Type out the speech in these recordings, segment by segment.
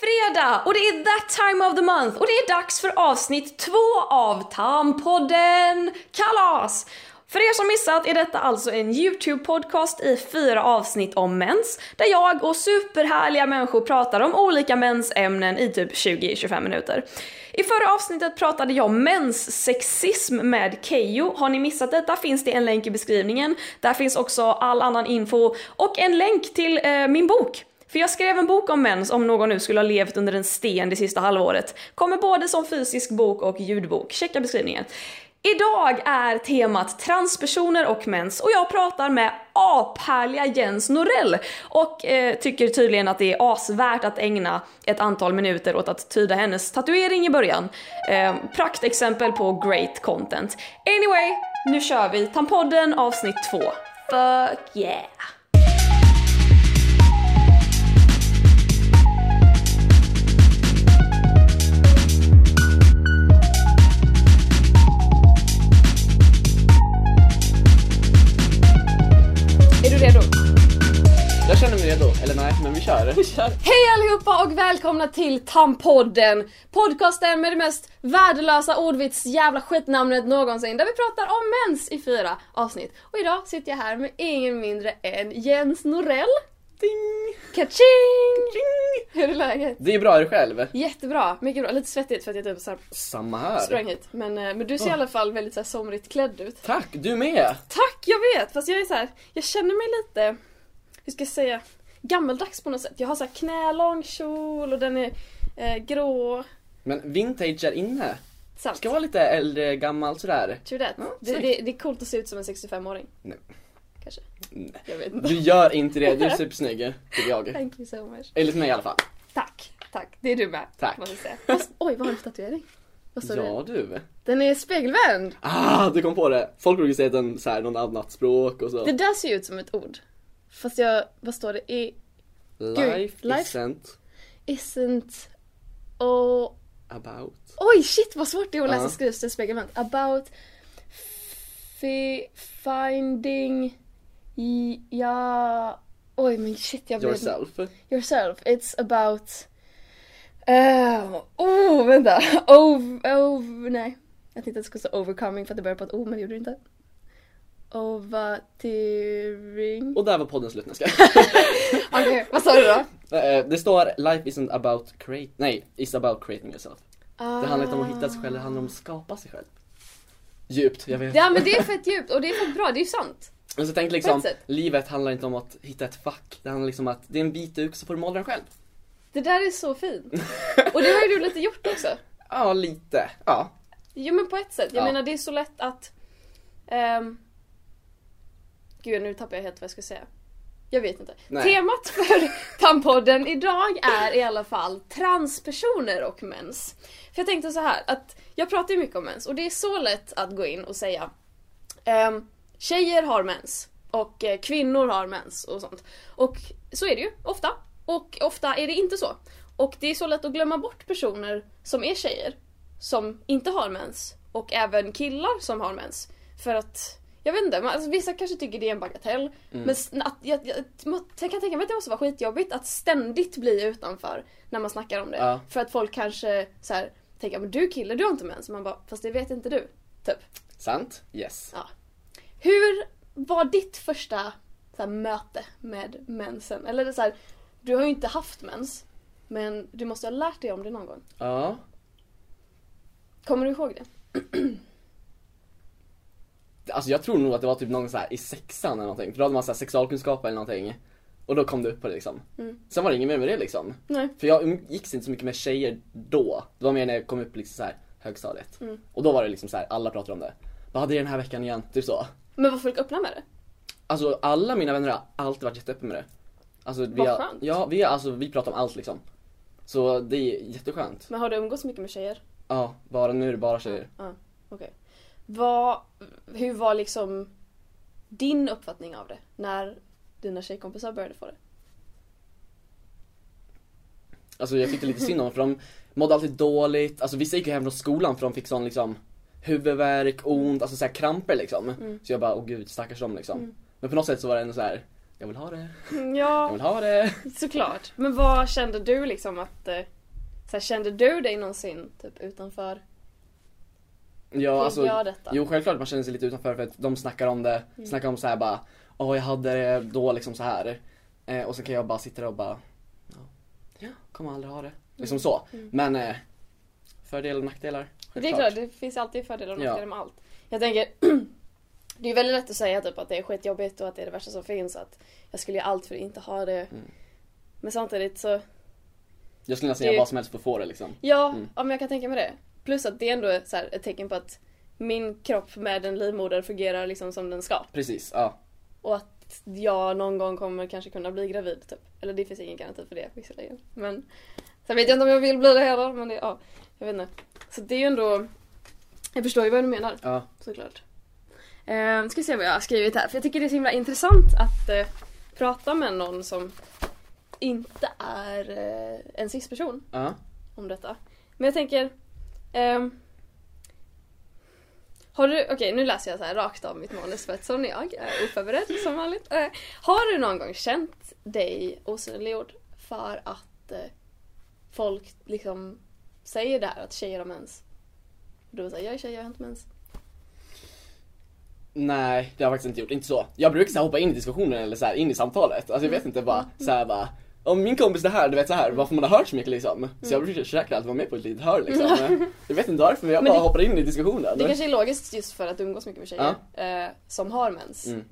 fredag och det är that time of the month och det är dags för avsnitt två av Tampodden Kalas! För er som missat är detta alltså en YouTube-podcast i fyra avsnitt om mens, där jag och superhärliga människor pratar om olika mensämnen i typ 20-25 minuter. I förra avsnittet pratade jag om menssexism med Kejo. Har ni missat detta finns det en länk i beskrivningen. Där finns också all annan info och en länk till eh, min bok. För jag skrev en bok om mens om någon nu skulle ha levt under en sten det sista halvåret. Kommer både som fysisk bok och ljudbok. Checka beskrivningen. Idag är temat transpersoner och mens och jag pratar med aphärliga Jens Norell och eh, tycker tydligen att det är asvärt att ägna ett antal minuter åt att tyda hennes tatuering i början. Eh, praktexempel på great content. Anyway, nu kör vi Tampodden avsnitt 2. Fuck yeah! Är du redo? Jag känner mig redo, eller nej, men vi kör. Vi kör. Hej allihopa och välkomna till Tampodden! Podcasten med det mest värdelösa ordvits jävla skitnamnet någonsin där vi pratar om mens i fyra avsnitt. Och idag sitter jag här med ingen mindre än Jens Norell. Ding. Kaching! Hur är läget? Det är bra, är du själv? Jättebra, mycket bra. Lite svettigt för att jag typ så här Samma här. sprang hit. Men, eh, men du ser i alla fall väldigt så här somrigt klädd ut. Tack, du med! Tack, jag vet! Fast jag är så här, jag känner mig lite, hur ska jag säga, gammaldags på något sätt. Jag har så här knälång kjol och den är eh, grå. Men vintage är inne. Sant. Ska vara lite äldre, gammal sådär. True that. Ja, det, snyggt. det, det är coolt att se ut som en 65-åring. Nej. Kanske. Nej. Jag vet inte. Du gör inte det, du är supersnygg. Tycker jag. Thank you so much. Enligt mig i alla fall. Tack, tack. Det är du med. Tack. måste jag säga. Fast, oj, vad har du för tatuering? Vad står det? Ja du. Den är spegelvänd. Ah, du kom på det. Folk brukar säga att den såhär, någon annat språk och så. Det där ser ju ut som ett ord. Fast jag, vad står det? E, I, Life, life. isn't isn't... Oh, about. Oj shit vad svårt det är att läsa Ja. skrivstilsspeglement. About fi, finding i- ja Oj men shit jag blev Yourself. Yourself. It's about eh, Oh vänta. Ov, ov, nej. Jag tänkte att det skulle stå overcoming för att det började på ett O men det gjorde det inte. Ovatering. Och där var podden slut, nästa. Okej vad sa du då? Eh, Det står Life isn't about create... Nej, it's about creating yourself. Det handlar inte om att hitta sig själv, det handlar om att skapa sig själv. Djupt, jag vet. Ja men det är fett djupt och det är fett bra, det är ju sant. Men så tänk på liksom, ett sätt. livet handlar inte om att hitta ett fack. Det handlar liksom om att det är en vit duk så får du måla den själv. Det där är så fint. Och det har ju du lite gjort också. Ja, lite. Ja. Jo men på ett sätt. Jag Ja. menar det är så lätt att... ehm, Gud nu tappar jag helt vad jag ska säga. Jag vet inte. Nej. Temat för Tampodden idag är i alla fall transpersoner och mens. För jag tänkte så här att jag pratar ju mycket om mens och det är så lätt att gå in och säga ehm, Tjejer har mens och eh, kvinnor har mens och sånt. Och så är det ju ofta. Och ofta är det inte så. Och det är så lätt att glömma bort personer som är tjejer som inte har mens och även killar som har mens. För att, jag vet inte, man, alltså, vissa kanske tycker det är en bagatell. Men s- att, jag, jag, må- jag kan tänka mig att det måste vara skitjobbigt att ständigt bli utanför när man snackar om det. Ja. För att folk kanske så här, tänker men du kille, du har inte mens. Man bara, fast det vet inte du. Typ. Sant? Yes. Ja. Hur var ditt första så här, möte med mensen? Eller det är så här, du har ju inte haft mens. Men du måste ha lärt dig om det någon gång. Ja. Kommer du ihåg det? Alltså jag tror nog att det var typ någon så här i sexan eller någonting. För då hade man så här sexualkunskap eller någonting. Och då kom du upp på det liksom. Sen var det inget mer med det liksom. Nej. För jag umgicks inte så mycket med tjejer då. Det var mer när jag kom upp liksom så här högstadiet. Och då var det liksom så här, alla pratade om det. Vad hade det den här veckan igen? Typ så. Men var folk öppna med det? Alltså alla mina vänner har alltid varit jätteöppna med det. Alltså, vi Vad har, skönt. Ja, vi, har, alltså, vi pratar om allt liksom. Så det är jätteskönt. Men har du umgåtts mycket med tjejer? Ja, bara nu är det bara tjejer. Ja, okej. Vad, hur var liksom din uppfattning av det när dina tjejkompisar började få det? Alltså jag tyckte lite synd om dem för de mådde alltid dåligt. Alltså vissa gick ju hem från skolan för de fick sån liksom huvudvärk, ont, alltså så här kramper liksom. Mm. Så jag bara, åh gud stackars dem liksom. Men på något sätt så var det ändå så här. jag vill ha det, jag Ja, vill ha det. såklart. Men vad kände du liksom att eh, Så här, kände du dig någonsin typ utanför? Ja, alltså, jag detta? jo självklart man känner sig lite utanför för att de snackar om det, Mm. snackar om så här bara, åh jag hade det då liksom så här. Eh, och så kan jag bara sitta där och bara, ja, jag kommer aldrig ha det. Mm. Liksom så. Men eh, fördelar och nackdelar. Det är självklart. klart, det finns alltid fördelar och Ja. nackdelar med allt. Jag tänker, det är väldigt lätt att säga typ att det är skitjobbigt och att det är det värsta som finns. Att jag skulle göra allt för att inte ha det. Mm. Men samtidigt så, Jag skulle nästan det är- göra vad som helst för att få det liksom. ja, ja men jag kan tänka mig det. Plus att det ändå är så här ett tecken på att min kropp med en livmoder fungerar liksom som den ska. Precis, ja. Och att jag någon gång kommer kanske kunna bli gravid typ. Eller det finns ingen garanti för det visserligen. Men sen vet jag inte om jag vill bli det heller. Men det, ja, jag vet inte. Så det är ju ändå, jag förstår ju vad du menar. ja. såklart. Eh, ska vi se vad jag har skrivit här, för jag tycker det är så himla intressant att eh, prata med någon som inte är eh, en cis-person ja. om detta. Men jag tänker... ehm, har du, okej nu läser jag så här rakt av mitt manus för att som jag är oförberedd som vanligt. Eh, har du någon gång känt dig osynliggjord för att eh, folk liksom säger det här att tjejer har mens? Och du säger jag är tjej, jag har inte mens. Nej, det har jag faktiskt inte gjort. Inte så. Jag brukar så här hoppa in i diskussionen eller så här, in i samtalet. Alltså jag vet inte bara så här bara om min kompis det här, du vet så här, varför man har hört så mycket liksom. Så jag brukar försöka alltid vara med på ett litet hörn liksom. Jag vet inte varför men jag Mm. Men bara det- hoppar in i diskussionen. Det kanske är logiskt just för att du umgås mycket med tjejer eh, som har mens. Mm.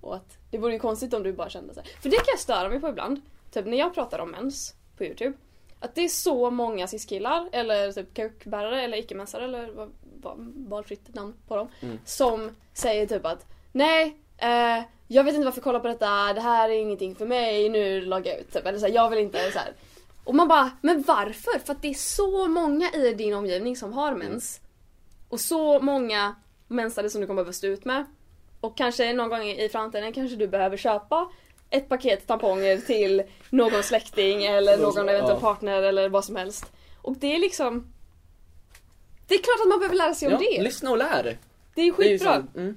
Och att det vore ju konstigt om du bara kände så här. För det kan jag störa mig på ibland. Typ när jag pratar om mens på YouTube. Att det är så många cis-killar eller typ kukbärare eller icke-mensare eller vad- vad- valfritt namn på dem. Mm. Som säger typ att nej, eh, jag vet inte varför jag kollar på detta, det här är ingenting för mig, nu loggar jag ut. Typ. Eller så här, jag vill inte så här. Och man bara, men varför? För att det är så många i din omgivning som har mens. Och så många mensare som du kommer behöva stå ut med. Och kanske någon gång i framtiden kanske du behöver köpa ett paket tamponger till någon släkting eller Någon som- någon eventuell ja. partner eller vad som helst. Och det är liksom... Det är klart att man behöver lära sig om ja, det. lyssna och lär. Det är Det är ju skitbra. så- mm.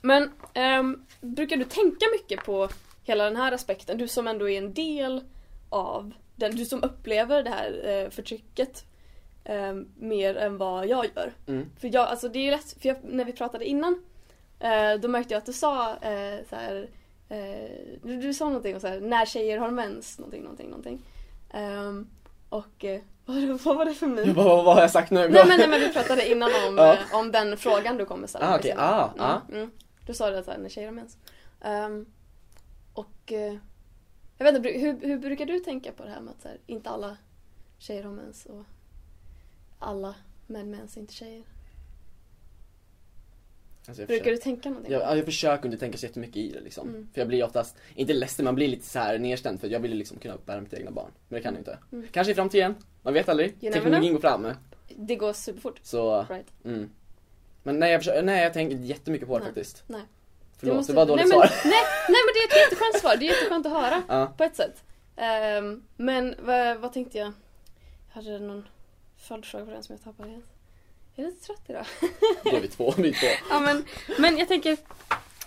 Men ehm, brukar du tänka mycket på hela den här aspekten? Du som ändå är en del av den, du som upplever det här eh, förtrycket ehm, mer än vad jag gör. Mm. För jag, alltså det är ju lätt, för jag, när vi pratade innan eh, då märkte jag att du sa eh, så här, eh, du, du sa någonting om så här, när tjejer har mens, någonting, någonting, någonting. Ehm, och eh, vad, vad var det för min? Jag bara, vad har jag sagt nu? Nej men, nej men vi pratade innan om, Ja. eh, om den frågan du kommer ställa. Ah, mig okej. senare. Ah, mm, ah. Mm. Du sa det att så här, när tjejer har mens. Ehm, och eh, jag vet inte, bru- hur, hur brukar du tänka på det här med att så här, inte alla tjejer har mens och alla män med mens är inte tjejer? Alltså, jag Brukar försöker- du tänka någonting? jag, ja, jag försöker inte tänka så jättemycket i det liksom. Mm. För jag blir oftast, inte ledsen, man blir lite så här nedstämd för jag vill ju liksom kunna uppbära mitt egna barn. Men det kan jag inte. Mm. Kanske i framtiden, man vet aldrig. never Teknologin går fram. Det går superfort. Så Right. Mm. Men nej jag, försöker, nej, jag tänker jättemycket på det Nej. faktiskt. Nej. Förlåt, Du måste- det var dåligt nej, men, svar. nej, nej men det är ett jätteskönt svar, det är jätteskönt att höra. Ja. På ett sätt. Ehm, men vad, vad tänkte jag? Jag hade någon följdfråga på den som jag tappade helt. Jag är lite trött idag. Då är vi två, vi är två. ja, men, men jag tänker.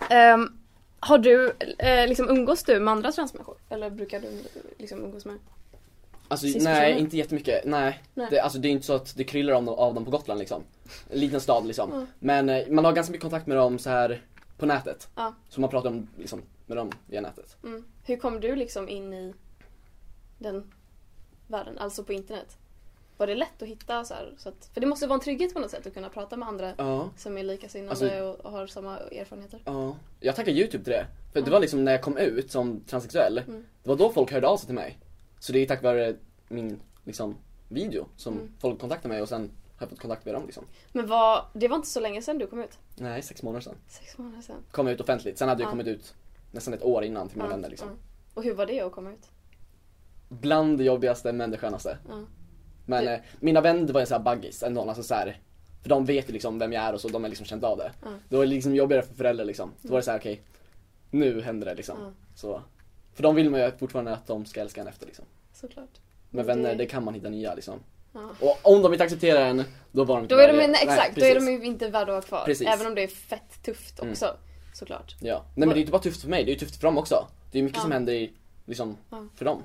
ehm, har du, eh, liksom umgås du med andra transmänniskor? Eller brukar du liksom umgås med? Alltså Sist nej, personen. inte jättemycket. Nej. Nej. Det, alltså, det är inte så att det kryllar av, dem- av dem på Gotland liksom. En liten stad liksom. Mm. Men eh, man har ganska mycket kontakt med dem så här på nätet. Ja. Så man pratar om, liksom, med dem via nätet. Mm. Hur kom du liksom in i den världen, alltså på internet? Var det lätt att hitta så här? Så att, för det måste vara en trygghet på något sätt att kunna prata med andra Ja. som är likasinnade Alltså- och, och har samma erfarenheter. Ja. Jag tackar youtube till det. För det Mm. var liksom när jag kom ut som transsexuell. Mm. Det var då folk hörde av sig till mig. Så det är tack vare min liksom, video som Mm. folk kontaktade mig och sen har jag fått kontakt med dem liksom. Men vad, det var inte så länge sedan du kom ut? Nej, sex månader sedan. Sex månader sedan. kom ut offentligt. Sen hade jag Ja. kommit ut nästan ett år innan till mina Ja, vänner. Liksom. ja. Och hur var det att komma ut? Bland det jobbigaste men det skönaste. Ja. Men Det- eh, mina vänner var ju såhär baggis ändå. Alltså så här, för de vet ju liksom vem jag är och så, de har liksom känt av det. Ja. Det var liksom jobbigare för föräldrar liksom. Då var det såhär okej, nu händer det liksom. Ja. Så, för de vill man ju fortfarande att de ska älska en efter liksom. Såklart. Men Det- vänner, det kan man hitta nya liksom. Ja. Och om de inte accepterar en, då var de inte Då är de, värdiga. nej, exakt, då är de precis. ju inte värda att ha kvar. Precis. Mm. Även om det är fett tufft också. Såklart. Ja. Nej men det är ju inte bara tufft för mig, det är ju tufft för dem också. Det är ju mycket Ja. som händer i, liksom, Ja. för dem.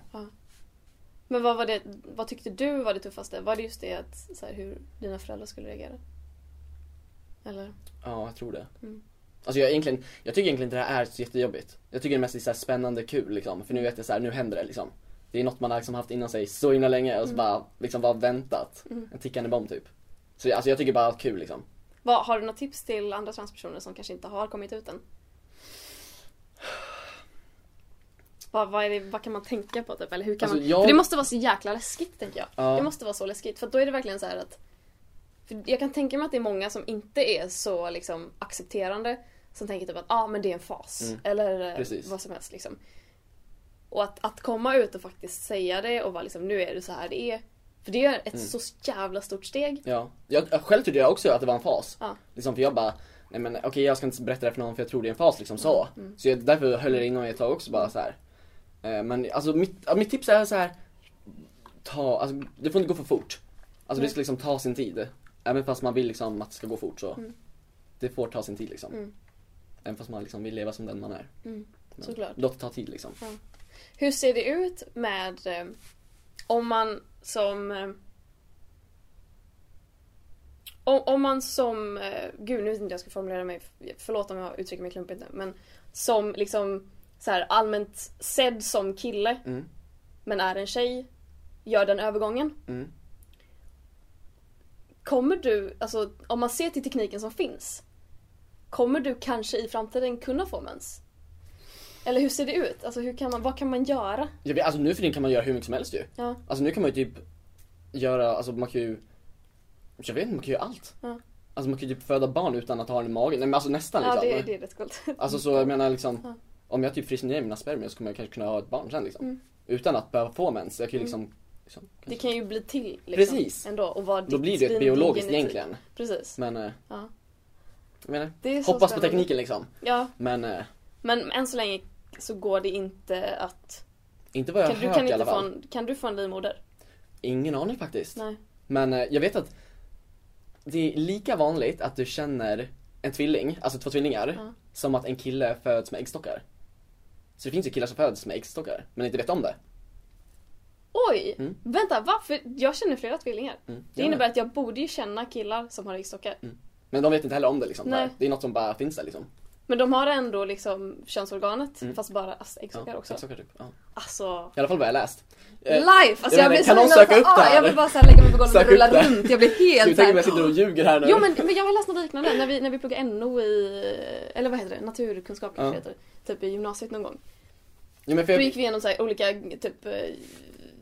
Men vad, var det, vad tyckte du var det tuffaste? Var det just det att, så här, hur dina föräldrar skulle reagera? Eller? Ja, jag tror det. Mm. Alltså jag, egentligen, jag tycker egentligen inte det här är så jättejobbigt. Jag tycker det mest är så här spännande kul liksom. För nu vet jag så här, nu händer det liksom. Det är något man har liksom haft inom sig så himla länge och så bara liksom bara väntat. En tickande bomb typ. Så jag- alltså jag tycker bara att det är kul liksom. Vad, har du några tips till andra transpersoner som kanske inte har kommit ut än? Vad, vad, är det, vad kan man tänka på typ? Eller hur kan Alltså, man... jag- För det måste vara så jäkla läskigt tänker jag. Ja. Det måste vara så läskigt för då är det verkligen så här att för jag kan tänka mig att det är många som inte är så liksom accepterande som tänker typ att ah, men det är en fas Mm. eller eh, Precis. vad som helst liksom. Och att, att komma ut och faktiskt säga det och vara liksom nu är det så här det är. För det är ett Mm. så jävla stort steg. Ja. Jag, jag själv tyckte jag också att det var en fas. Ja. Liksom för jag bara, nej men okej jag ska inte berätta det för någon för jag tror det är en fas liksom så. Mm, Så jag, därför höll jag det inom mig ett tag också bara så här. Eh, Men alltså mitt, ja, mitt tips är så här. Ta, alltså, det får inte gå för fort. Alltså det ska liksom ta sin tid. Även fast man vill liksom att det ska gå fort så. Mm. Det får ta sin tid liksom. Även fast man liksom vill leva som den man är. Men Såklart. Låt det ta tid liksom. Hur ser det ut med eh, om man som eh, om, om man som, eh, gud nu vet inte hur jag ska formulera mig, förlåt om jag uttrycker mig klumpigt nu, men som liksom så här, allmänt sedd som kille Mm. men är en tjej, gör den övergången. Mm. Kommer du, alltså om man ser till tekniken som finns, kommer du kanske i framtiden kunna få mens? Eller hur ser det ut? Alltså hur kan man, vad kan man göra? Jag vet, alltså nu för tiden kan man göra hur mycket som helst ju. Ja. Alltså nu kan man ju typ göra, alltså man kan ju Jag vet inte, man kan ju göra allt. Ja. Alltså man kan ju typ föda barn utan att ha den i magen. Nej men alltså nästan Ja, liksom. det, det är rätt coolt. Alltså så jag menar liksom Ja. Om jag typ fryser ner mina spermier så kommer jag kanske kunna ha ett barn sen liksom. Mm. Utan att behöva få mens. Jag kan ju liksom, liksom Det kanske- kan ju bli till liksom, Precis. ändå. Och vad Då blir det ju ett biologiskt egentligen. Precis. Men eh, typ. Ja. jag menar, Det är så hoppas på spännande. tekniken liksom. Ja, Men eh, men än så länge så går det inte att... inte vad jag Kan har du, hört kan, i inte alla få fall. en, kan du få en livmoder? Ingen aning faktiskt. Nej. Men eh, jag vet att det är lika vanligt att du känner en tvilling, alltså två tvillingar, Ja. som att en kille föds med äggstockar. Så det finns ju killar som föds med äggstockar, men inte vet om det. Oj! Mm. Vänta, varför? Jag känner flera tvillingar. Mm, Det jag innebär med. att jag borde ju känna killar som har äggstockar. Men de vet inte heller om det liksom. Nej. Det är något som bara finns där liksom. Men de har ändå liksom könsorganet fast bara alltså, äggstockar Mm. Ja, också. äggstockar typ. Ja. Alltså... I alla fall vad jag läst. Eh, Life! Alltså, jag menar, kan någon himla- söka upp det ah, här? Jag vill bara så här, lägga mig på golvet Sök och rulla upp det. runt. Jag blir Du helt så tänker att här, jag sitter och ljuger här nu? Jo men, men jag har läst något liknande när vi, när vi pluggade NO i, eller vad heter det, naturkunskap kanske Ja. det heter Typ i gymnasiet någon gång. Jo, men för Då jag, gick vi igenom så här olika typ eh,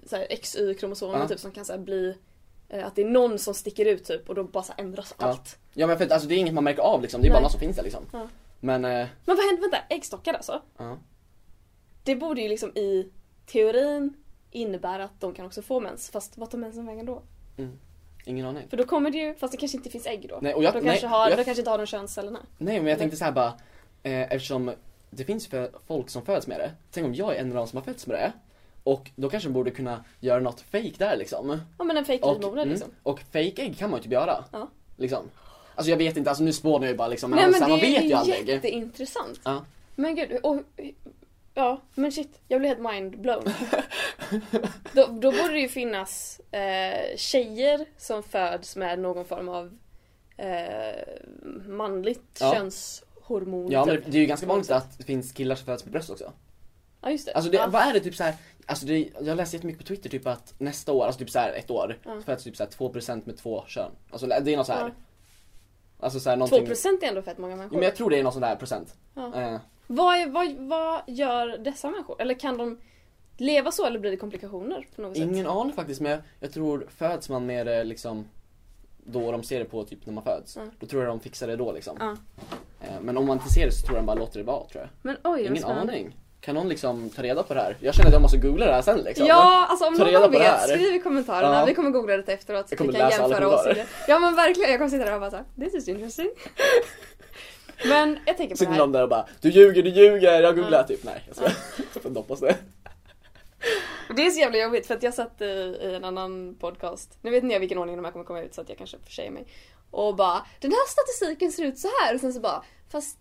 så här XY-kromosomer Ja. typ som kan så här bli eh, att det är någon som sticker ut typ och då bara så här ändras Ja. allt. ja men för att, alltså, det är inget man märker av liksom. Det är bara Nej. något som finns där liksom. Ja. Men, eh, Men vad händer, vänta, äggstockar alltså? ja. Det borde ju liksom i teorin innebära att de kan också få mens. Fast vad tar mensen vägen då? Ingen aning. För då kommer det ju, fast det kanske inte finns ägg då. Nej, och jag- de, nej, kanske har, jag- de kanske inte har de könscellerna. Nej men jag tänkte så här bara, eh, eftersom det finns för folk som föds med det. Tänk om jag är en av dem som har fötts med det. Och då kanske de borde kunna göra något fake där liksom. Ja men en Och, fejklivmoder liksom. mm, och fake ägg kan man ju typ göra. Ja. Liksom. Alltså jag vet inte, alltså nu spånar jag ju bara liksom. Nej så men här, man det vet ju är aldrig. jätteintressant. Ja. Men gud, och, ja men shit, jag blev helt mindblown. då, då borde det ju finnas eh, tjejer som föds med någon form av eh, manligt Ja. könshormon. Ja men typ. det är ju ganska vanligt att det finns killar som föds med bröst också. ja just det. Alltså det, ja. vad är det typ så här? Alltså det, jag läste jättemycket på Twitter typ att nästa år, alltså typ så här ett år, Ja. föds typ så här 2% med två kön. Alltså det är något så här. Ja. Alltså så här någonting. 2% är ändå fett många Jo, människor. men jag tror det är någon sån där procent. Ja. Eh, vad, är, vad, vad gör dessa människor? Eller kan de leva så eller blir det komplikationer på något sätt? ingen aning faktiskt men jag, jag tror föds man med det liksom då de ser det på typ när man föds. Mm. Då tror jag de fixar det då liksom. Ja. Eh, men om man inte ser det så tror jag de bara låter det vara tror jag. Men oj, vad Ingen spännande. aning. Kan någon liksom ta reda på det här? Jag känner att jag måste googla det här sen liksom. Ja, alltså om Ta reda någon på det vet, här. skriv i kommentarerna. Ja. Vi kommer googla det efteråt så Jag att kommer vi kan läsa alla jämföra kommentarer. åsikter. Ja men verkligen, jag kommer sitta där och bara såhär, this is interesting. men jag tänker på det Sitter här. någon där och bara Du ljuger, du ljuger, jag googlar typ. Nej jag skojar. Jag får inte hoppas det. Det är så jävla jobbigt för att jag satt i, i en annan podcast, nu vet inte jag vilken ordning de här kommer komma ut så att jag kanske försäger mig. Och bara, den här statistiken ser ut så här och sen så bara, fast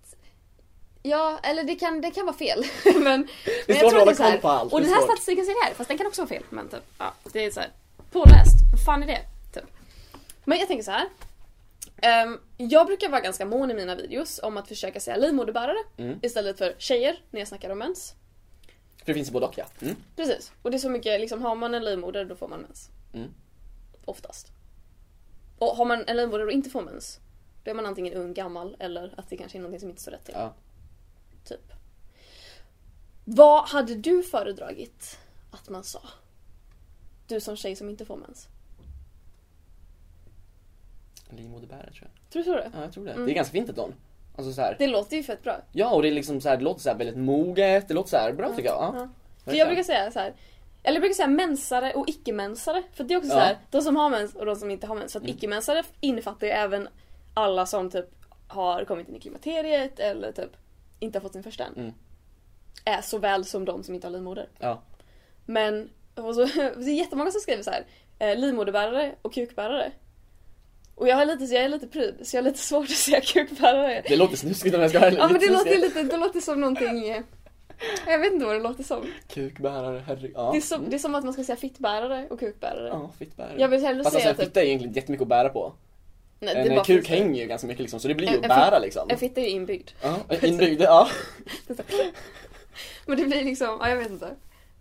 Ja, eller det kan, det kan vara fel. men, men Det är svårt att jag tror hålla så här- koll på allt. Och det den är här svårt. statistiken säger det här, fast den kan också vara fel. Men typ, ja, det är så här, påläst. Vad fan är det? Typ. Men jag tänker så här. Ehm, jag brukar vara ganska mån i mina videos om att försöka säga livmoderbärare Mm. istället för tjejer när jag snackar om mens. För det finns ju både och ja. Mm. Precis. Och det är så mycket, liksom har man en livmoder då får man mens. Mm. Oftast. Och har man en livmoder och inte får mens, då är man antingen ung, gammal eller att det kanske är någonting som inte står rätt till. Ja. Typ. Vad hade du föredragit att man sa? Du som tjej som inte får mens. Livmoderbärare tror jag. Tror du det? Ja, jag tror det. Mm. Det är ganska fint ändå. Alltså så här. Det låter ju fett bra. Ja, och det är liksom så här, det låter så här väldigt moget. Det låter så här bra tycker jag. Ja. Ja. För jag brukar säga så här. Eller jag brukar säga mensare och icke-mensare. För det är också så här, Ja. de som har mens och de som inte har mens. För att Mm. icke-mensare innefattar ju även alla som typ har kommit in i klimakteriet eller typ inte har fått sin första än. Mm. Är såväl som de som inte har livmoder. Ja. Men och så, det är jättemånga som skriver så här. eh, Livmoderbärare och kukbärare. Och jag, är lite, så jag är lite pryd, så jag har lite svårt att säga kukbärare. Det låter snuskigt om jag ska vara ärlig. Ja men det Lite låter, snuskigt. lite, det låter som någonting... eh, Jag vet inte vad det låter som. Kukbärare, herregud. Ja. Det är, som, Mm. det är som att man ska säga fittbärare och kukbärare. Ja, fittbärare. Jag vill hellre Fast säga alltså en typ... fitta är egentligen jättemycket att bära på. Nej, det är En bara kuk fitta. hänger ju ganska mycket liksom, så det blir En- ju att en bära liksom. En fitta är ju inbyggd. Ja, inbyggd, ja. Men det blir liksom, ja jag vet inte.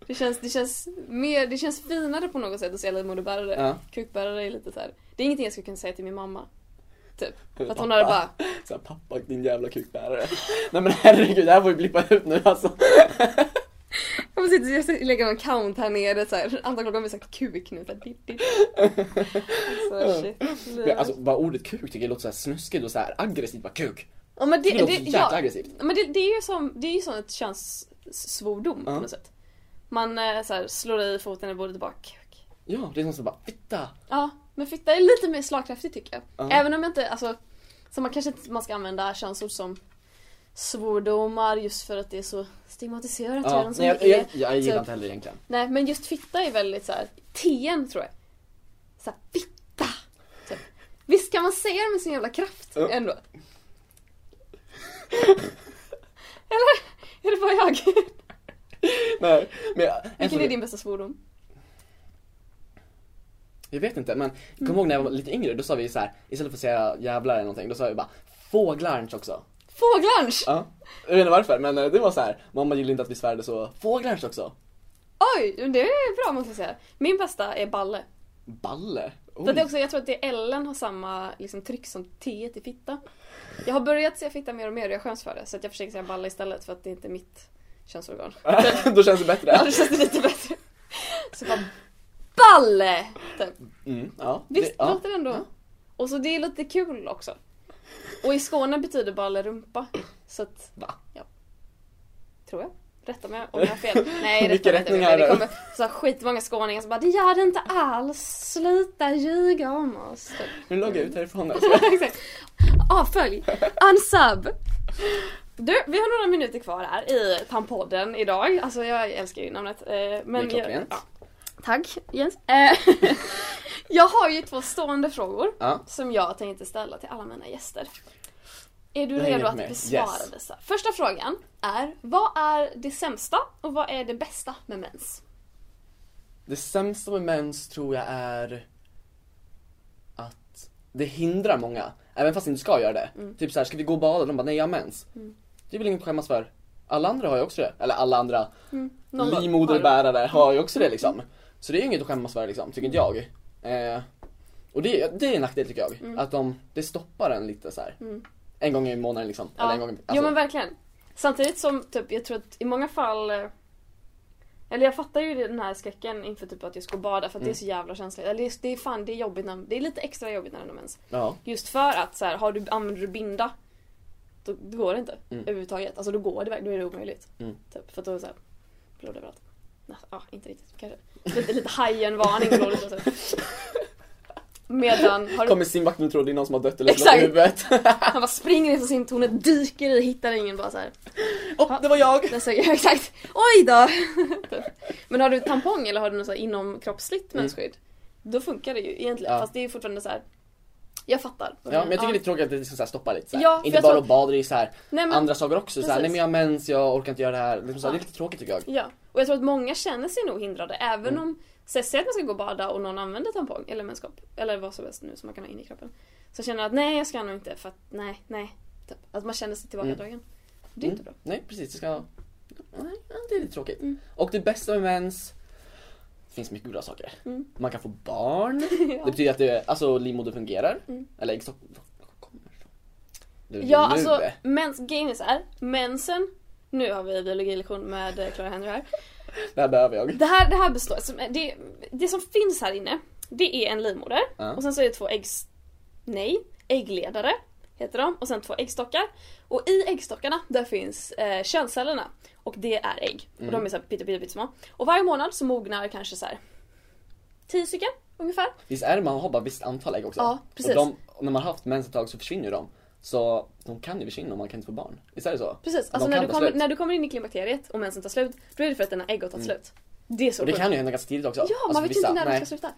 Det känns, det känns, mer, det känns finare på något sätt att säga livmoderbärare. ja. Kukbärare är lite så här. det är ingenting jag skulle kunna säga till min mamma. För att hon hade bara, Så här, pappa din jävla kukbärare. Nej men herregud, det här får vi blippa ut nu alltså. jag måste sitta- jag ska lägga en count här nere så här. antal gånger vi sagt kuk nu. Så här, dit, dit. Alltså shit. Men, Alltså bara ordet kuk tycker jag låter så här snuskigt och så här aggressivt, bara kuk. ja, men det, Det, det, låter så jäkla ja, aggressivt. Men det, det är ju som, det är ju som ett könssvordom på Ja. något sätt. Man eh, så här, slår i foten i bordet bak. Ja, det är som att bara fitta. Ja, men fitta är lite mer slagkraftigt tycker jag. Ja. Även om jag inte, alltså, så man kanske inte man ska använda könsord som svordomar just för att det är så stigmatiserat redan som nej, jag, det är. jag, jag gillar typ. inte heller egentligen. Nej, men just fitta är väldigt så här, tien tror jag. Så här, fitta! Typ. Visst kan man säga det med sin jävla kraft Ja. ändå? Eller? Är det bara jag? Nej, men jag, en Vilken fråga, är din bästa svordom? jag vet inte, men kom Mm. ihåg när jag var lite yngre, då sa vi så här istället för att säga jävlar eller någonting, då sa vi bara fåglarns också. Fåglarns! Ja. Jag vet inte varför, men eh, det var så här. mamma gillade inte att vi svärde så fåglarns också. Oj, men det är bra måste jag säga. Min bästa är balle. Balle. För Oj. att det är också, jag tror att det är Ellen har samma liksom, tryck som T i fitta. Jag har börjat säga fitta mer och mer och jag skäms för det. Så att jag försöker säga balle istället för att det inte är mitt könsorgan. Oh. då känns det bättre. Ja, det känns det lite bättre. Så bara, balle! Typ. Mm, ja. Visst det, ja. låter det ändå? Och så det är lite kul också. Och i Skåne betyder balle rumpa. Så att, Va? tror jag. Rätta mig om jag har fel. Nej, Mycket rätta mig inte. rättningar Men Det här. kommer så här skitmånga skåningar som bara det gör det inte alls. Sluta ljuga om oss. Typ. Nu loggar jag ut härifrån. Alltså. Exakt. Avfölj! Unsub! Du, vi har några minuter kvar här i Tampodden idag. Alltså jag älskar ju namnet. eh, Det är Men jag, klockrent. ja. Tack Jens. Eh, jag har ju två stående frågor Ja. som jag tänkte ställa till alla mina gäster. Är du Jag hänger redo att med. besvara Yes. dessa? Första frågan är, vad är det sämsta och vad är det bästa med mens? Det sämsta med mens tror jag är att det hindrar många. Även fast det inte ska göra det. Mm. Typ så här, ska vi gå och bada? De bara, nej jag har mens. Det är väl inget att skämmas för. Alla andra har ju också det. Eller alla andra Mm. Någon bara, livmoderbärare har ju också det liksom. Så det är ju inget att skämmas för liksom, tycker inte jag. Eh, och det, det är en nackdel tycker jag. Mm. Att de, det stoppar en lite så här. En gång i månaden liksom. Ja. Eller en gång i, alltså, Jo men verkligen. Samtidigt som typ, jag tror att i många fall eh, Eller jag fattar ju den här skräcken inför typ att jag ska bada Mm. för att det är så jävla känsligt. Eller det är, det är fan, det är jobbigt när, det är lite extra jobbigt när den har mens. ja. Just för att så här, har du, använder du binda då, då går det inte Mm. överhuvudtaget. Alltså då går det verkligen, då är det omöjligt. Mm. Typ, för att då är det så här, blod överallt. Nej, ja, inte riktigt kanske. Lite, lite hajen-varning blod överallt. Medan, har du Kommer simvakten och tror det är någon som har dött eller slagit i Exakt. huvudet. Han bara springer inför sin tornet, dyker i, hittar ingen bara så här. Åh, det var jag! Den suger, Alltså, exakt. Oj då! Men har du tampong eller har du något så här inomkroppsligt mensskydd? Då funkar det ju egentligen. Mm. Ja. Fast det är ju fortfarande så här. Jag fattar. Ja, men jag tycker det är lite tråkigt att det liksom så här stoppar lite. Så här. Ja, för inte jag bara tror- att bada i så här Nej, men, andra saker också. Så här, Precis. nej men jag har mens, jag orkar inte göra det här. Liksom så här Det Ja. är lite tråkigt tycker jag. Ja, och jag tror att många känner sig nog hindrade även Mm. om så Säg att man ska gå och bada och någon använder tampong eller menskopp eller vad som helst nu som man kan ha in i kroppen. Så känner jag att nej jag ska nog inte för att nej, nej. Typ. Att man känner sig tillbakadragen. Det är Mm. inte bra. Nej precis, det ska... Nej, det är lite tråkigt. Mm. Och det bästa med mens... Det finns mycket goda saker. Mm. Man kan få barn. Ja. Det betyder att det, alltså, livmodern fungerar. Mm. Eller äggstock... var kommer det ifrån? Du, Ja, nu. alltså mens, grejen är så här, mensen, nu har vi biologilektion med eh, Clara Henry här. Det här behöver jag. Det här, det här består, alltså, det, det som finns här inne, det är en livmoder Ja. och sen så är det två äggs... Nej, äggledare heter de och sen två äggstockar. Och i äggstockarna där finns eh, könscellerna och det är ägg. Mm. Och de är så här pytte, pytte, pytte små. Och varje månad så mognar kanske så här 10 stycken ungefär. Visst är det man har bara visst antal ägg också? Ja, precis. Och de, och när man har haft mens ett tag så försvinner ju de. Så de kan ju försvinna om man kan inte få barn. Visst är det så? Precis, De alltså när kan du, ta kommer, slut. Mm. när du kommer in i klimakteriet och mensen tar slut, då är det för att dina ägg har tagit slut. Det är så Och det sjukt. kan ju hända ganska tidigt också. Ja, Alltså, man vet ju vissa- inte när de nej. ska sluta.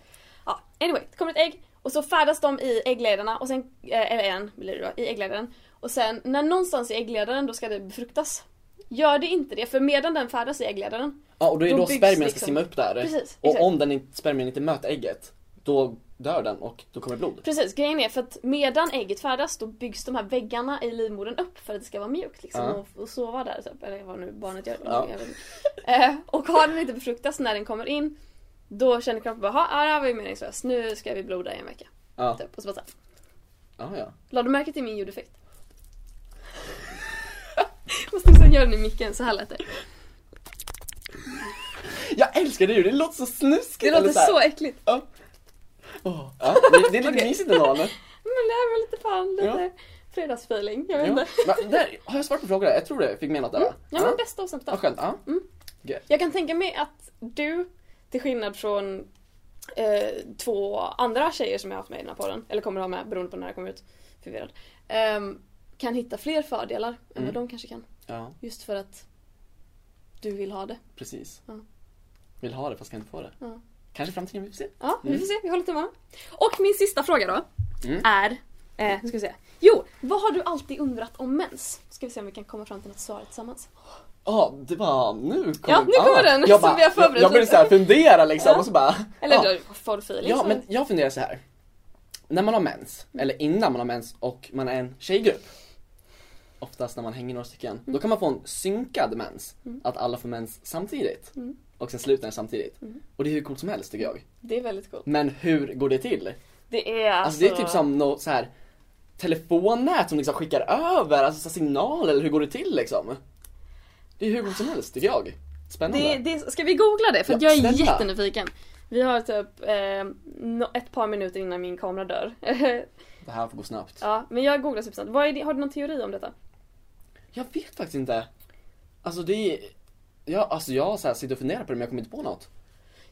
Ja, anyway, det kommer ett ägg och så färdas de i äggledarna och sen, eh, eller en blir det då, i äggledaren. Och sen när någonstans i äggledaren då ska det befruktas. Gör det inte det, för medan den färdas i äggledaren, Ja, och då är det Då då byggs spermien ska liksom- simma upp där. Precis, och exakt. om den inte, spermien inte möter ägget, då dör den och då kommer det blod. precis grejen är för att medan ägget färdas då byggs de här väggarna i livmodern upp för att det ska vara mjukt liksom Ja. och, och sova där typ, eller vad nu barnet gör. Ja. Jag vet inte. Eh, och har den inte befruktats när den kommer in, då känner kroppen bara "Ha, ja, det här var ju meningslöst, nu ska vi bloda i en vecka. Ja, Typ. Och så bara så här, ja. ja. Lade du märke till min ljudeffekt? Måste liksom göra den i micken, så här lät det. Jag älskar det ju, det låter så snuskigt! Det eller låter här. så äckligt. Åh, ja, det, det är lite mysigt ändå. eller? Men det är väl lite fan, lite fredagsfeeling. Jag vet Ja. inte. Men där, har jag svarat på frågor? där? Jag tror det, fick med något där va? Mm. Ja men bästa och sämsta. Vad skönt, ja. Jag kan tänka mig att du, till skillnad från eh, två andra tjejer som jag har haft med i den här podden, eller kommer att ha med beroende på när jag kommer ut, förvirrad. ehm, kan hitta fler fördelar än Mm. vad de kanske kan. Ja, Just för att du vill ha det. precis. Ja. Vill ha det fast kan inte få det. Ja. Kanske i framtiden, vi får se. Ja, vi Mm. får se. Vi håller tummarna. Och min sista fråga då Mm. är... Eh, nu ska vi se. Jo, vad har du alltid undrat om mens? Ska vi se om vi kan komma fram till något svar tillsammans. Ja, det var nu kom Ja, nu kommer den jag som bara, vi har förberett Jag, jag började lite. så här fundera liksom Ja. och så bara... Eller ja. du får feeling. Ja, så- men jag funderar så här. När man har mens, eller innan man har mens och man är en tjejgrupp. Oftast när man hänger några stycken. Mm. Då kan man få en synkad mens. Att alla får mens samtidigt. Mm. Och sen slutar den samtidigt. Och det är hur coolt som helst tycker jag. Det är väldigt coolt. Men hur går det till? Alltså, Det är alltså- det är typ som något så här telefonnät som liksom skickar över alltså så här signaler eller hur går det till liksom? Det är hur coolt som helst tycker jag. Spännande. Det, det, ska vi googla det? För att Ja, jag är snälla. jättenyfiken. Vi har typ eh, nå- ett par minuter innan min kamera dör. Det här får gå snabbt. ja, men jag googlar typ snabbt. Vad är det, har du någon teori om detta? Jag vet faktiskt inte. Alltså det är... Ja, alltså jag har så här sitter och funderar på det men jag kommer inte på något.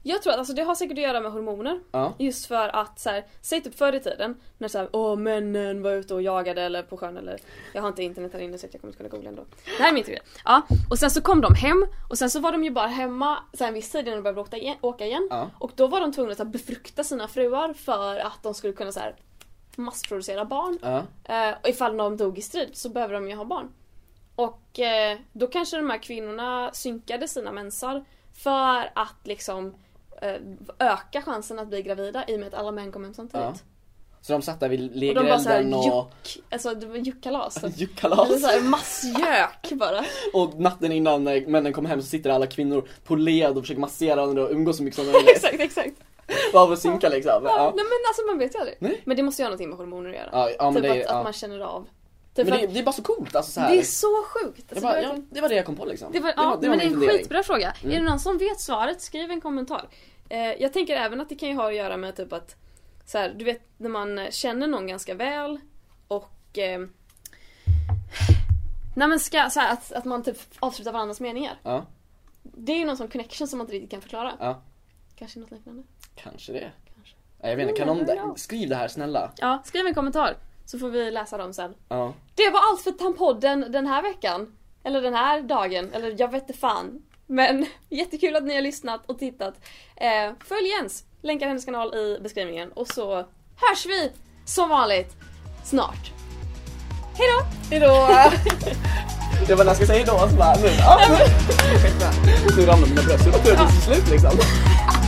Jag tror att alltså, det har säkert att göra med hormoner. Ja. Just för att så här, säg typ förr i tiden när så här, åh männen var ute och jagade eller på sjön eller jag har inte internet här inne så att jag kommer inte kunna googla ändå. Det här är min teori. Ja, och sen så kom de hem och sen så var de ju bara hemma så här, en viss tid innan de började åka igen, åka igen. Ja. och då var de tvungna att så här, befrukta sina fruar för att de skulle kunna så här, massproducera barn. Ja. Eh, och ifall de dog i strid så behöver de ju ha barn. Och eh, då kanske de här kvinnorna synkade sina mensar för att liksom eh, öka chansen att bli gravida i och med att alla män kom hem samtidigt. Så de satt där vid Och de var såhär lägerelden och... juck, alltså det var juckkalas. typ. Eller Juckkalas! såhär massjök bara. Och natten innan när männen kommer hem så sitter alla kvinnor på led och försöker massera varandra och umgås så mycket som möjligt. exakt, exakt. Bara för att synka liksom. Ja. Ja, Nej men alltså man vet ju aldrig. Nej. Men det måste ju ha någonting med hormoner att göra. ja, ja men typ det är... att, att Ja. man känner av. Men Typ det, att, det är bara så coolt alltså så här. det är så sjukt. jag Alltså, bara, det är ja, verkligen- det var det jag kom på liksom. Det var, ja, det men min det är en fundering. skitbra fråga. Mm. Är det någon som vet svaret, skriv en kommentar. Eh, jag tänker även att det kan ju ha att göra med typ att så här, du vet när man eh, känner någon ganska väl och eh, Nej men ska, så här, att, att man typ avslutar varandras meningar. Ja, Det är ju någon sån connection som man inte riktigt kan förklara. Ja. Kanske något liknande. kanske det. Kanske. Nej, jag vet inte, kan Mm, någon I don't know. skriv det här snälla. Ja, skriv en kommentar så får vi läsa dem sen. Ja. Det var allt för Tampodden den här veckan. Eller den här dagen. Eller jag vet inte fan. Men jättekul att ni har lyssnat och tittat. Eh, följ Jens. Länkar hennes kanal i beskrivningen. Och så hörs vi som vanligt snart. Hejdå! Hejdå! Jag bara, när ska jag säga hejdå? Och så bara, nu. ah, nu. Nu ramlar mina bröst. Det var tur att det tog slut liksom.